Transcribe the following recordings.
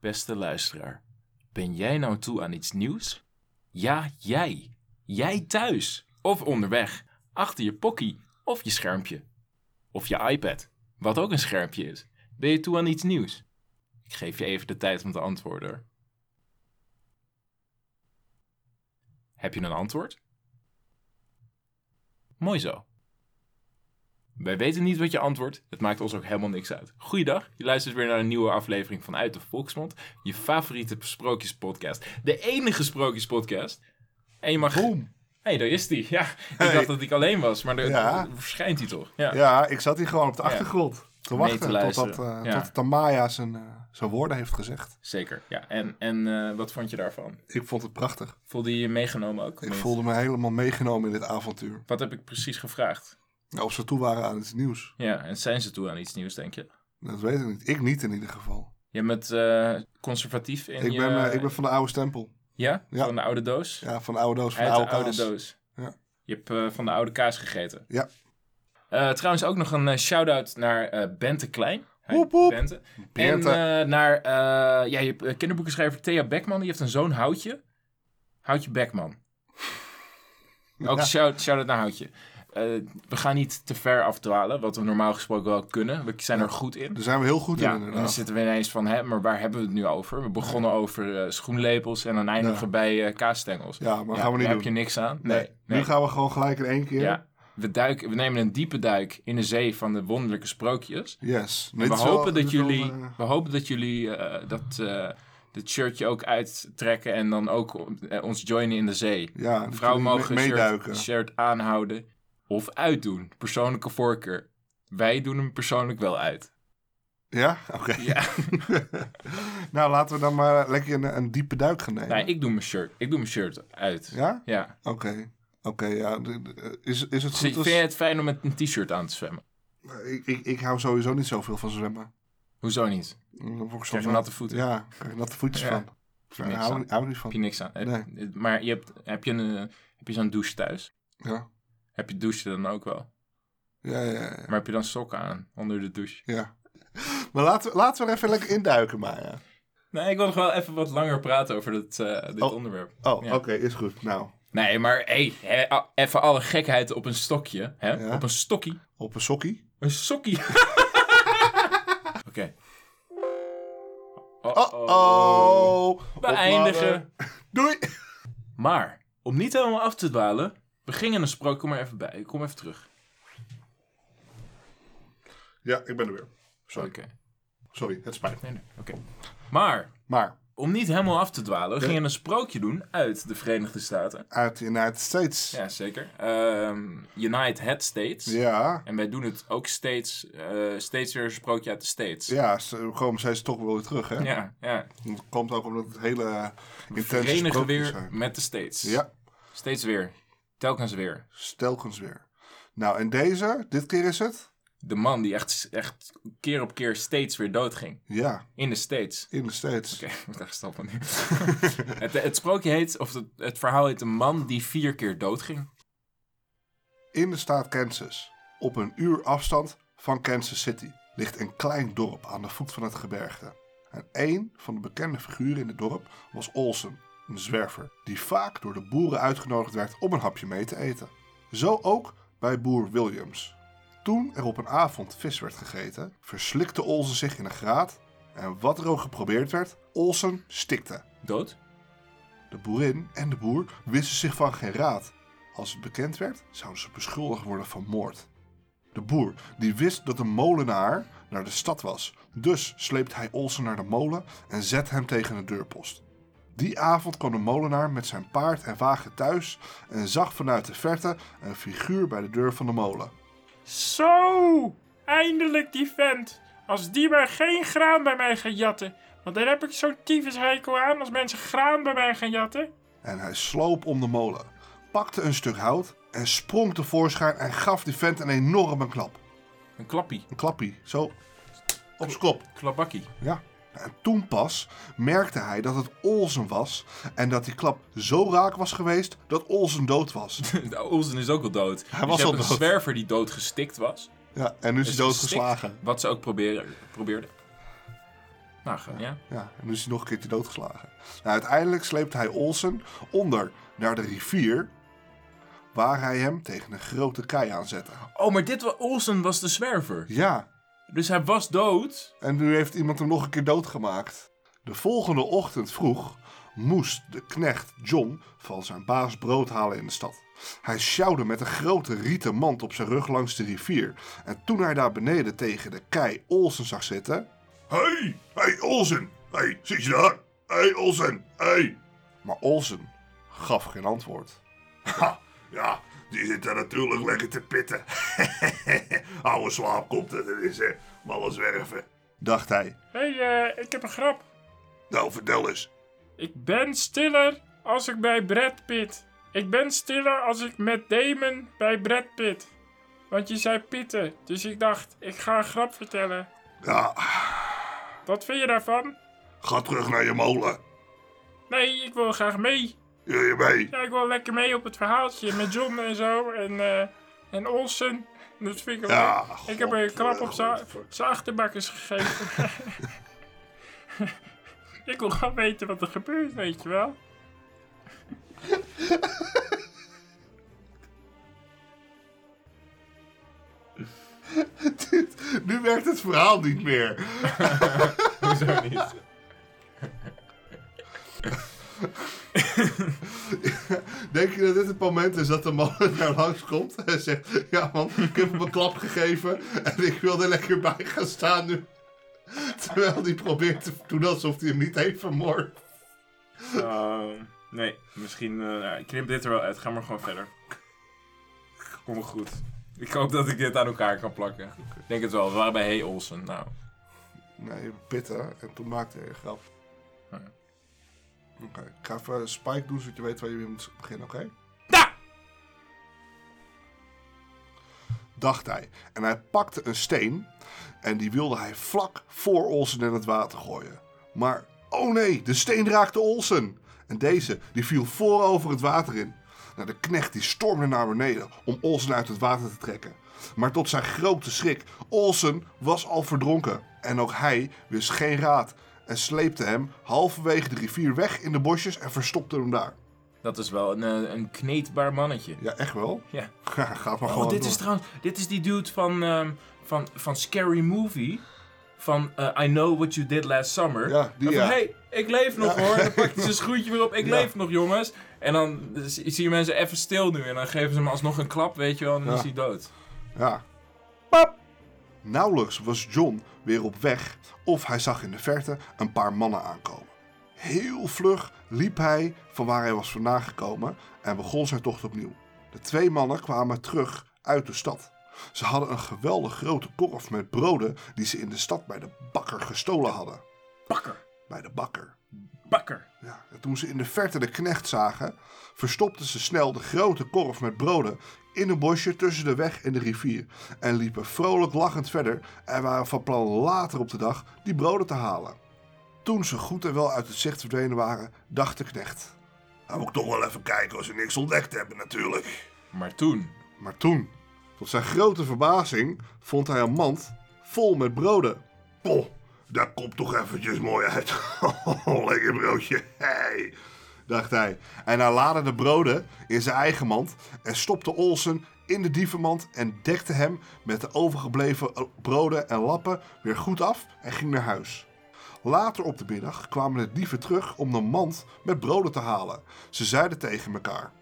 Beste luisteraar, ben jij nou toe aan iets nieuws? Ja, jij. Jij thuis. Of onderweg. Achter je pokkie. Of je schermpje. Of je iPad. Wat ook een schermpje is. Ben je toe aan iets nieuws? Ik geef je even de tijd om te antwoorden. hoor. Heb je een antwoord? Mooi zo. Wij weten niet wat je antwoordt. Het maakt ons ook helemaal niks uit. Goeiedag, je luistert weer naar een nieuwe aflevering van Uit de Volksmond. Je favoriete sprookjespodcast. De enige sprookjespodcast. En je mag... Boom. Hé, hey, daar is die. Ja, ik Hey. dacht dat ik alleen was, maar er Ja. verschijnt hij toch. Ja. Ja, ik zat hier gewoon op de achtergrond te Mee te wachten luisteren. totdat, eh Ja. totdat Tamaya zijn, eh, zijn woorden heeft gezegd. Zeker, ja. En, en eh, wat vond je daarvan? Ik vond het prachtig. Voelde je je meegenomen ook? Ik voelde me helemaal meegenomen in dit avontuur. Wat heb ik precies gevraagd? Nou, Of ze toe waren aan iets nieuws, Ja, en zijn ze toe aan iets nieuws, denk je? dat weet ik niet. Ik niet in ieder geval. Je bent eh, conservatief in Ik je... ben, eh, ik ben van de oude stempel. Ja? Ja. Van de oude doos? Ja, van de oude doos, van Uit de oude, de oude kaas. doos. Ja. Je hebt eh, van de oude kaas gegeten. Ja. Eh, trouwens ook nog een eh, shout-out naar eh Bente Klein. Hi, Woep, woep. Bente. Bente. En eh, naar eh, ja, je hebt, eh, kinderboekenschrijver Thea Beckman. Die heeft een zoon, Houtje. Houtje Beckman. Ook Ja. shout- shout-out naar Houtje. Eh, we gaan niet te ver afdwalen, wat we normaal gesproken wel kunnen. We zijn er goed in. Daar zijn we heel goed Ja, in en dan inderdaad. zitten we ineens van, hè, maar waar hebben we het nu over? We begonnen over eh, schoenlepels en dan eindigen bij eh kaasstengels. Ja, maar gaan we niet daar doen. heb je niks aan. Nee, Nee, nee. Nu gaan we gewoon gelijk in één keer. Ja, we, duiken, we nemen een diepe duik in de zee van de wonderlijke sprookjes. Yes. En we, Dit is wel- hopen dit dat is wel, jullie, eh, we hopen dat jullie eh, dat eh het shirtje ook uittrekken en dan ook eh, ons joinen in de zee. ja, dat Vrouwen jullie mogen me- een meeduiken. shirt, shirt aanhouden of uitdoen. Persoonlijke voorkeur. Wij doen hem persoonlijk wel uit. Ja? Oké. Ja. nou, laten we dan maar lekker een, een diepe duik gaan nemen. Nee, ik doe mijn shirt. Ik doe mijn shirt uit. Ja? ja. Oké. Oké, ja. d- d- Is, is Vind het goed vind als... je het fijn om met een t-shirt aan te zwemmen? Ik, ik, ik hou sowieso niet zoveel van zwemmen. Hoezo niet? Dan word ik soms Krijg je wel- natte voeten? Ja, daar krijg ik natte voetjes Ja. van. Daar niks hou, aan. ik- hou ik niet Heb van. je niks aan. Heb- Maar je hebt, heb je, een, eh, heb je zo'n douche thuis? Ja. Heb je douche dan ook wel? Ja, ja, ja. Maar heb je dan sokken aan onder de douche? ja. Maar laten we, laten we er even lekker induiken, Maya. Nee, ik wil nog wel even wat langer praten over dit, eh, dit Oh. onderwerp. Oh, Ja. oké, is goed. Nou, Nee, maar hey, hè, a- even alle gekheid op een stokje. Hè? Ja. Op een stokkie. op een sokkie. Een sokkie. Oké. Oh, We eindigen. Doei. Maar, om niet helemaal af te dwalen, we gingen een sprook. Kom maar even bij. Kom even terug. Ja, ik ben er weer. Oké. Sorry, sorry, het spijt me. Nee, nee. Oké. Maar, Maar om niet helemaal af te dwalen, we gingen een sprookje doen uit de Verenigde Staten. uit de United States. Ja. Ja, zeker. Ehm, United Head States. Ja, En wij doen het ook steeds, eh, steeds weer een sprookje uit de States. ze komen zijn ze toch wel weer terug, hè? ja. ja. Dat komt ook omdat het hele eh, intense Verenigen sprookjes weer zijn. met de States. Ja, Steeds weer. Telkens weer. stelkens weer. Nou, en deze, dit keer is het? De man die echt, echt keer op keer steeds weer doodging. Ja, In de States. in de States. Oké, ik moet echt stoppen nu. het, het sprookje heet, of het, het verhaal heet, een man die vier keer doodging. In de staat Kansas, op een uur afstand van Kansas City, ligt een klein dorp aan de voet van het gebergte. En een van de bekende figuren in het dorp was Olsen, een zwerver, die vaak door de boeren uitgenodigd werd om een hapje mee te eten. Zo ook bij boer Williams. Toen er op een avond vis werd gegeten, verslikte Olsen zich in een graat en wat er ook geprobeerd werd, Olsen stikte. Dood? De boerin en de boer wisten zich van geen raad. Als het bekend werd, zouden ze beschuldigd worden van moord. De boer, die wist dat de molenaar naar de stad was, dus sleept hij Olsen naar de molen en zet hem tegen de deurpost. Die avond kwam de molenaar met zijn paard en wagen thuis en zag vanuit de verte een figuur bij de deur van de molen. Zo, eindelijk die vent. Als die maar geen graan bij mij gaan jatten. Want daar heb ik zo'n tyfushekel aan als mensen graan bij mij gaan jatten. En hij sloop om de molen, pakte een stuk hout en sprong tevoorschijn en gaf die vent een enorme klap. Een klappie. Een klappie, zo op z'n kop. Klabakkie. Ja. En toen pas merkte hij dat het Olsen was en dat die klap zo raak was geweest dat Olsen dood was. De Olsen is ook al dood. Dus Hij was al een dood. zwerver die doodgestikt was. Ja, en nu is hij Dus gestikt, doodgeslagen. Wat ze ook proberen, probeerden. Nou, ga- ja. Ja, en nu is hij nog een keertje doodgeslagen. Nou, uiteindelijk sleepte hij Olsen onder naar de rivier, waar hij hem tegen een grote kei aanzette. Oh, maar dit was... Olsen was de zwerver. Ja, Dus hij was dood. en nu heeft iemand hem nog een keer doodgemaakt. De volgende ochtend vroeg moest de knecht John van zijn baas brood halen in de stad. Hij sjouwde met een grote rieten mand op zijn rug langs de rivier. En toen hij daar beneden tegen de kei Olsen zag zitten... Hey, hey Olsen! Hey, zit je daar? Hey Olsen, hey! Maar Olsen gaf geen antwoord. Ha, ja, die zit daar natuurlijk lekker te pitten. Oude slaap komt het, dat is hè, malle zwerven. Dacht hij. Hé, hey, eh, ik heb een grap. Nou, vertel eens. Ik ben stiller als ik bij Brad Pitt. Ik ben stiller als ik met Damon bij Brad Pitt. Want je zei pitten, dus ik dacht, ik ga een grap vertellen. Ja, Wat vind je daarvan? ga terug naar je molen. Nee, ik wil graag mee. Wil je mee? Ja, ik wil lekker mee op het verhaaltje met John en zo en, eh, en Olsen. Dat vind ik wel Ja, leuk. Ik heb een klap op godverdomme. zijn achterbakkers gegeven. ik wil gewoon weten wat er gebeurt, weet je wel. Nu werkt het verhaal niet meer. Hoezo niet? Denk je dat dit het moment is dat de molen naar langs komt en zegt: Ja, man, ik heb hem een klap gegeven en ik wil er lekker bij gaan staan nu. Terwijl die probeert te doen alsof hij hem niet heeft vermoord. Ehm, nee, misschien... eh, ja, ik knip dit er wel uit. Ga maar gewoon verder. Kom goed. Ik hoop dat ik dit aan elkaar kan plakken. Ik denk het wel. We waren bij Hey Olsen. Nou, Nee, pitten. En toen maakte hij een grap. Ja. Oké, ik ga even Spike doen zodat je weet waar je weer moet beginnen, oké? Da! Dacht hij. En hij pakte een steen en die wilde hij vlak voor Olsen in het water gooien. Maar, oh nee, de steen raakte Olsen. En deze, die viel voorover het water in. Nou, de knecht die stormde naar beneden om Olsen uit het water te trekken. Maar tot zijn grote schrik, Olsen was al verdronken. En ook hij wist geen raad en sleepte hem halverwege de rivier weg in de bosjes en verstopte hem daar. dat is wel een, eh, een kneedbaar mannetje. Ja, echt wel? Ja. Gaat maar gewoon Oh, dit door. is trouwens... Dit is die dude van, ehm, van, van Scary Movie. Van eh, I Know What You Did Last Summer. Ja, die, En van, ja. hey, ik leef nog Ja. hoor. En dan pakt hij zijn schoentje weer op. Ik Ja. leef nog, jongens. En dan eh, zie zie je mensen even stil nu. En dan geven ze hem alsnog een klap, weet je wel. En dan Ja. is hij dood. Ja. Nauwelijks was John weer op weg of hij zag in de verte een paar mannen aankomen. Heel vlug liep hij van waar hij was vandaan gekomen en begon zijn tocht opnieuw. De twee mannen kwamen terug uit de stad. Ze hadden een geweldig grote korf met broden die ze in de stad bij de bakker gestolen hadden. Bakker. Bij de bakker. Bakker. Ja, en toen ze in de verte de knecht zagen, verstopten ze snel de grote korf met broden in een bosje tussen de weg en de rivier en liepen vrolijk lachend verder en waren van plan later op de dag die broden te halen. Toen ze goed en wel uit het zicht verdwenen waren, dacht de knecht. Nou moet ik toch wel even kijken als ze niks ontdekt hebben natuurlijk. Maar toen... Maar toen, tot zijn grote verbazing, vond hij een mand vol met broden. Poh, dat komt toch eventjes mooi uit. Lekker broodje, hey, dacht hij. En hij laadde de broden in zijn eigen mand en stopte Olsen in de dievenmand en dekte hem met de overgebleven broden en lappen weer goed af en ging naar huis. Later op de middag kwamen de dieven terug om de mand met broden te halen. Ze zeiden tegen elkaar.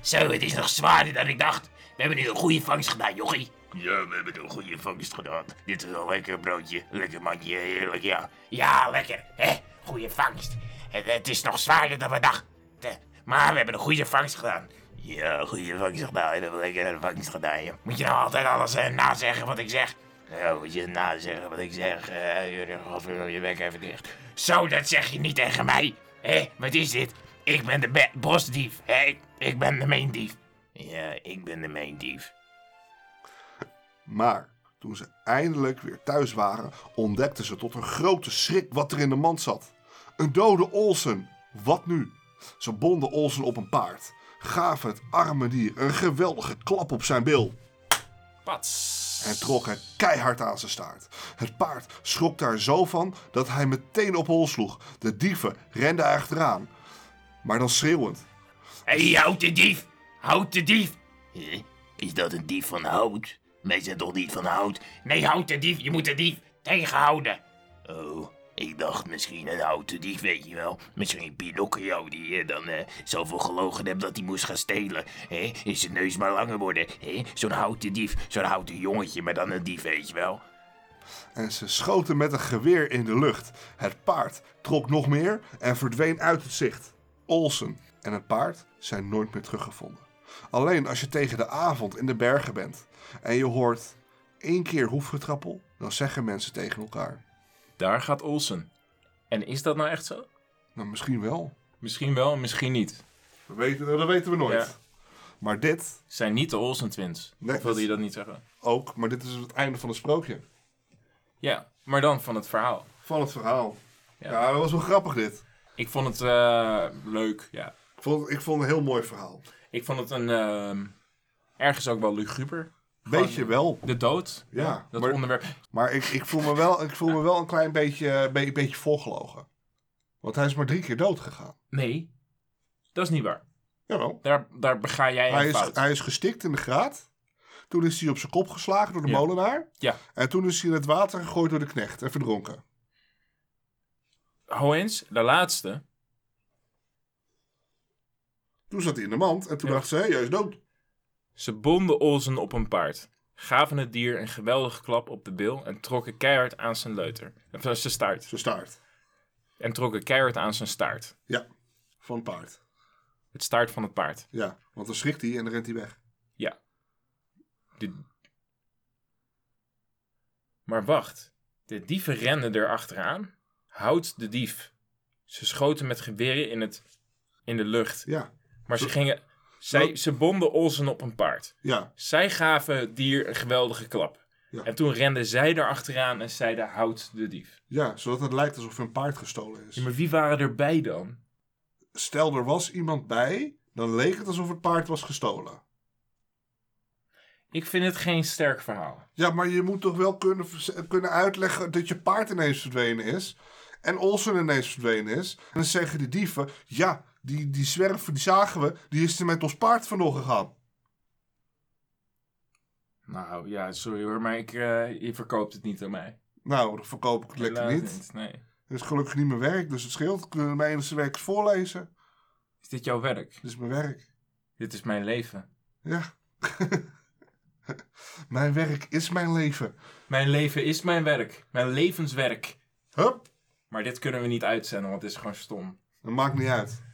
Zo, het is nog zwaarder dan ik dacht. We hebben nu een goede vangst gedaan, jochie. Ja, we hebben een goede vangst gedaan. Dit is een lekker broodje. Lekker mandje, heerlijk, ja. Ja, lekker. Hè, goede vangst. Het, het is nog zwaarder dan we dachten. Eh, Maar we hebben een goede vangst gedaan. Ja, goede vangst gedaan. We hebben lekker een vangst gedaan, ja. Moet je nou altijd alles eh, nazeggen wat ik zeg? Nou, moet je nazeggen wat ik zeg. eh, Uh, of je bek even dicht. Zo, dat zeg je niet tegen mij. Hé, wat is dit? Ik ben de be- bosdief. Hé, ik, ik ben de meendief. Ja, ik ben de meendief. Maar toen ze eindelijk weer thuis waren, ontdekten ze tot hun grote schrik wat er in de mand zat. Een dode Olsen. Wat nu? Ze bonden Olsen op een paard, gaven het arme dier een geweldige klap op zijn bil. Pats. en trok er keihard aan zijn staart. Het paard schrok daar zo van dat hij meteen op hol sloeg. De dieven renden achteraan, maar dan schreeuwend. Hé, hey, houd de dief! Houd de dief! Hè? Is dat een dief van hout? Wij zijn toch niet van hout? Nee, houd de dief! Je moet de dief tegenhouden! Oh, ik dacht misschien een houten dief, weet je wel. Misschien Pinocchio die eh, dan eh, zoveel gelogen heeft dat hij moest gaan stelen. Hè? Is zijn neus maar langer worden. Hè? Zo'n houten dief, zo'n houten jongetje, maar dan een dief, weet je wel. en ze schoten met een geweer in de lucht. Het paard trok nog meer en verdween uit het zicht. Olsen en het paard zijn nooit meer teruggevonden. Alleen als je tegen de avond in de bergen bent en je hoort één keer hoefgetrappel, dan zeggen mensen tegen elkaar. Daar gaat Olsen. En is dat nou echt zo? Nou, misschien wel. Misschien wel, misschien niet. We weten, dat weten we nooit. Ja. Maar dit Zijn niet de Olsen twins. Nee. Of wilde je dat niet zeggen? ook, maar dit is het einde van het sprookje. Ja, maar dan van het verhaal. Van het verhaal. Ja, Ja. dat was wel grappig dit. Ik vond het eh, leuk, ja. Ik vond, ik vond het een heel mooi verhaal. Ik vond het een... ehm, ergens ook wel luguber. Weet je wel. De dood. Ja, Dat maar- onderwerp. Maar ik, ik, voel me wel, ik voel me wel een klein beetje, eh, be- beetje volgelogen. Want hij is maar drie keer dood gegaan. Nee, dat is niet waar. Jawel. Daar, daar bega jij Hij een is, fout. hij is gestikt in de graat. Toen is hij op zijn kop geslagen door de Ja. molenaar. Ja. En toen is hij in het water gegooid door de knecht en verdronken. Hou eens, de laatste. Toen zat hij in de mand en toen dacht ze, hé, hij is dood. Ze bonden Olsen op een paard, gaven het dier een geweldige klap op de bil en trokken keihard aan zijn leuter. Of eh, zijn staart. Zijn staart. En trokken keihard aan zijn staart. Ja, van het paard. Het staart van het paard. Ja, want dan schrikt hij en dan rent hij weg. Ja. Dit- Maar wacht. De dieven renden erachteraan. Houd de dief. Ze schoten met geweren in, het, in de lucht. Ja, Maar ze gingen... Zij, ze bonden Olsen op een paard. ja, Zij gaven het dier een geweldige klap. Ja. En toen renden zij erachteraan en zeiden: houd de dief. ja. Zodat het lijkt alsof een paard gestolen is. Ja, maar wie waren erbij dan? Stel, er was iemand bij, dan leek het alsof het paard was gestolen. Ik vind het geen sterk verhaal. Ja, maar je moet toch wel kunnen, vers- kunnen uitleggen dat je paard ineens verdwenen is. En Olsen ineens verdwenen is. En dan zeggen de dieven, ja, die, die zwerver, die zagen we, die is er met ons paard vandoor gegaan. Nou ja, sorry hoor, maar ik, eh, je verkoopt het niet aan mij. Nou, dan verkoop ik het lekker Helaas niet. Nee. Het is gelukkig niet mijn werk, dus het scheelt. Ik kan mijn enige werk is voorlezen. Is dit jouw werk? Dit is mijn werk. Dit is mijn leven. Ja. mijn werk is mijn leven. Mijn leven is mijn werk. Mijn levenswerk. Hup, Maar dit kunnen we niet uitzenden, want het is gewoon stom. dat maakt niet uit.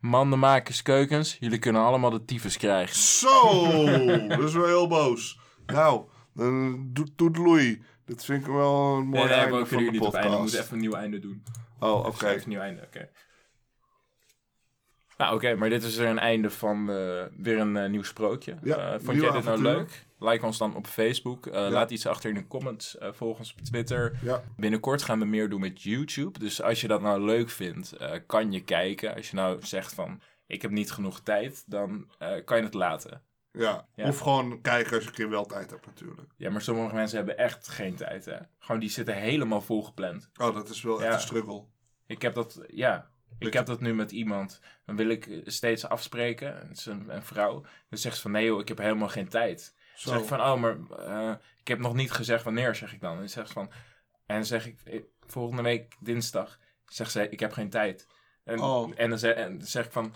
Mandenmakers, keukens, jullie kunnen allemaal de tyfus krijgen. Zo, dat is wel heel boos. Nou, dan doet doet Louis. Dat vind ik wel een mooi Nee, nee, einde we van kunnen de hier niet op einde. We podcast. moeten even een nieuw einde doen. Oh, oké. Schrijf een nieuw einde, oké. Nou, oké, maar dit is er een einde van eh, weer een eh, nieuw sprookje. Ja, Eh, vond nieuw jij dit nou avontuur. leuk? Like ons dan op Facebook. Eh, Laat iets achter in de comments. eh, volg ons op Twitter. Ja. Binnenkort gaan we meer doen met YouTube. Dus als je dat nou leuk vindt, eh, kan je kijken. Als je nou zegt van, ik heb niet genoeg tijd, dan eh, kan je het laten. Ja. Ja. of gewoon kijken als je een keer wel tijd hebt natuurlijk. Ja, maar sommige mensen hebben echt geen tijd, hè. Gewoon, die zitten helemaal volgepland. Oh, dat is wel echt Ja. een struggle. Ik heb dat, ja. Ik heb dat nu met iemand. Dan wil ik eh, steeds afspreken. Het is een, een vrouw. Dan zegt ze van, nee joh, ik heb helemaal geen tijd. Zo. Dan zeg ik van, oh, maar eh, ik heb nog niet gezegd wanneer, zeg ik dan. En dan zegt ze van, en dan zeg ik, eh, volgende week dinsdag. Zegt ze, ik heb geen tijd. En, Oh. en, dan, ze- en dan zeg ik van,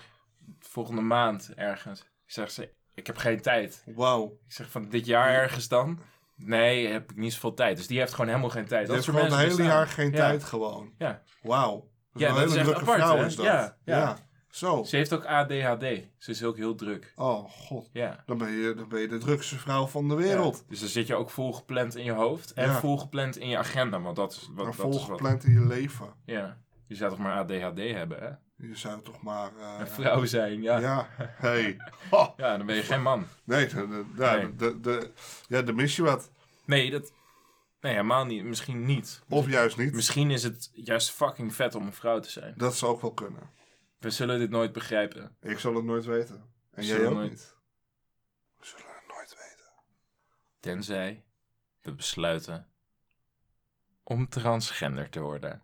volgende maand ergens. Zegt ze, ik heb geen tijd. Wauw. Ik zeg van, dit jaar ergens dan? Nee, heb ik niet zoveel tijd. Dus die heeft gewoon helemaal geen tijd. Je hebt soort gewoon het hele mensen bestaan. jaar geen Ja. tijd gewoon. Ja. Wauw. Dat is Ja, wel dat een is echt hele drukke apart, vrouw hè? is dat. Ja, ja. Zo. Ze heeft ook ADHD. Ze is ook heel druk. Oh, god. Ja. Dan ben, je, dan ben je de drukste vrouw van de wereld. Ja. Dus dan zit je ook volgepland in je hoofd en Ja. volgepland in je agenda. Want dat is wat. Maar Dat Is wat volgepland in je leven. ja. Je zou toch maar ADHD hebben, hè? Je zou toch maar... eh, Een vrouw zijn, ja. ja. Ja, hey. Ha. dan ben je geen man. Nee, de, de, ja, Nee. de- de- ja, dan mis je wat. Nee, dat. Nee, helemaal niet. Misschien niet. Of juist niet. Misschien is het juist fucking vet om een vrouw te zijn. Dat zou ook wel kunnen. We zullen dit nooit begrijpen. Ik zal het nooit weten. En jij zullen ook nooit- niet. We zullen het nooit weten. Tenzij We besluiten om transgender te worden.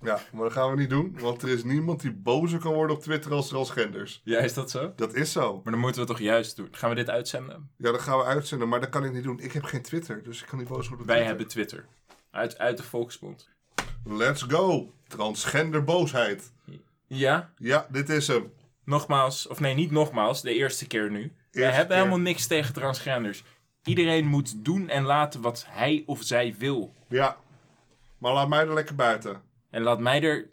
Ja, maar dat gaan we niet doen, want er is niemand die bozer kan worden op Twitter als transgenders. Ja, is dat zo? Dat is zo. Maar dan moeten we toch juist doen. Gaan we dit uitzenden? Ja, dat gaan we uitzenden, maar dat kan ik niet doen. Ik heb geen Twitter, dus ik kan niet boos worden op Wij Twitter. hebben Twitter. Uit, uit de Volksbond. Let's go! Transgender boosheid. Ja, Ja, dit is hem. nogmaals. Of nee, niet nogmaals. De eerste keer nu. We Eerste hebben keer. helemaal niks tegen transgenders. Iedereen moet doen en laten wat hij of zij wil. Ja. Maar laat mij er lekker buiten. En laat mij er...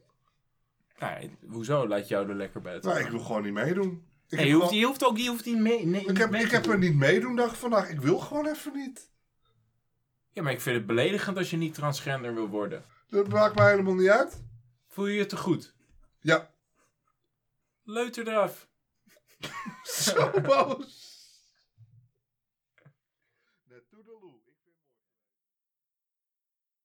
Nou, hoezo laat jou er lekker buiten? Nou, ik wil gewoon niet meedoen. Ik, Nee, heb je hoeft, gewoon- je hoeft ook die hoeft niet mee. Nee, ik, niet heb, mee ik te heb doen. er niet meedoen dag vandaag. Ik wil gewoon even niet. Ja, maar ik vind het beledigend als je niet transgender wil worden. Dat maakt mij helemaal niet uit. Voel je je te goed? Ja, Leuter eraf. zo boos.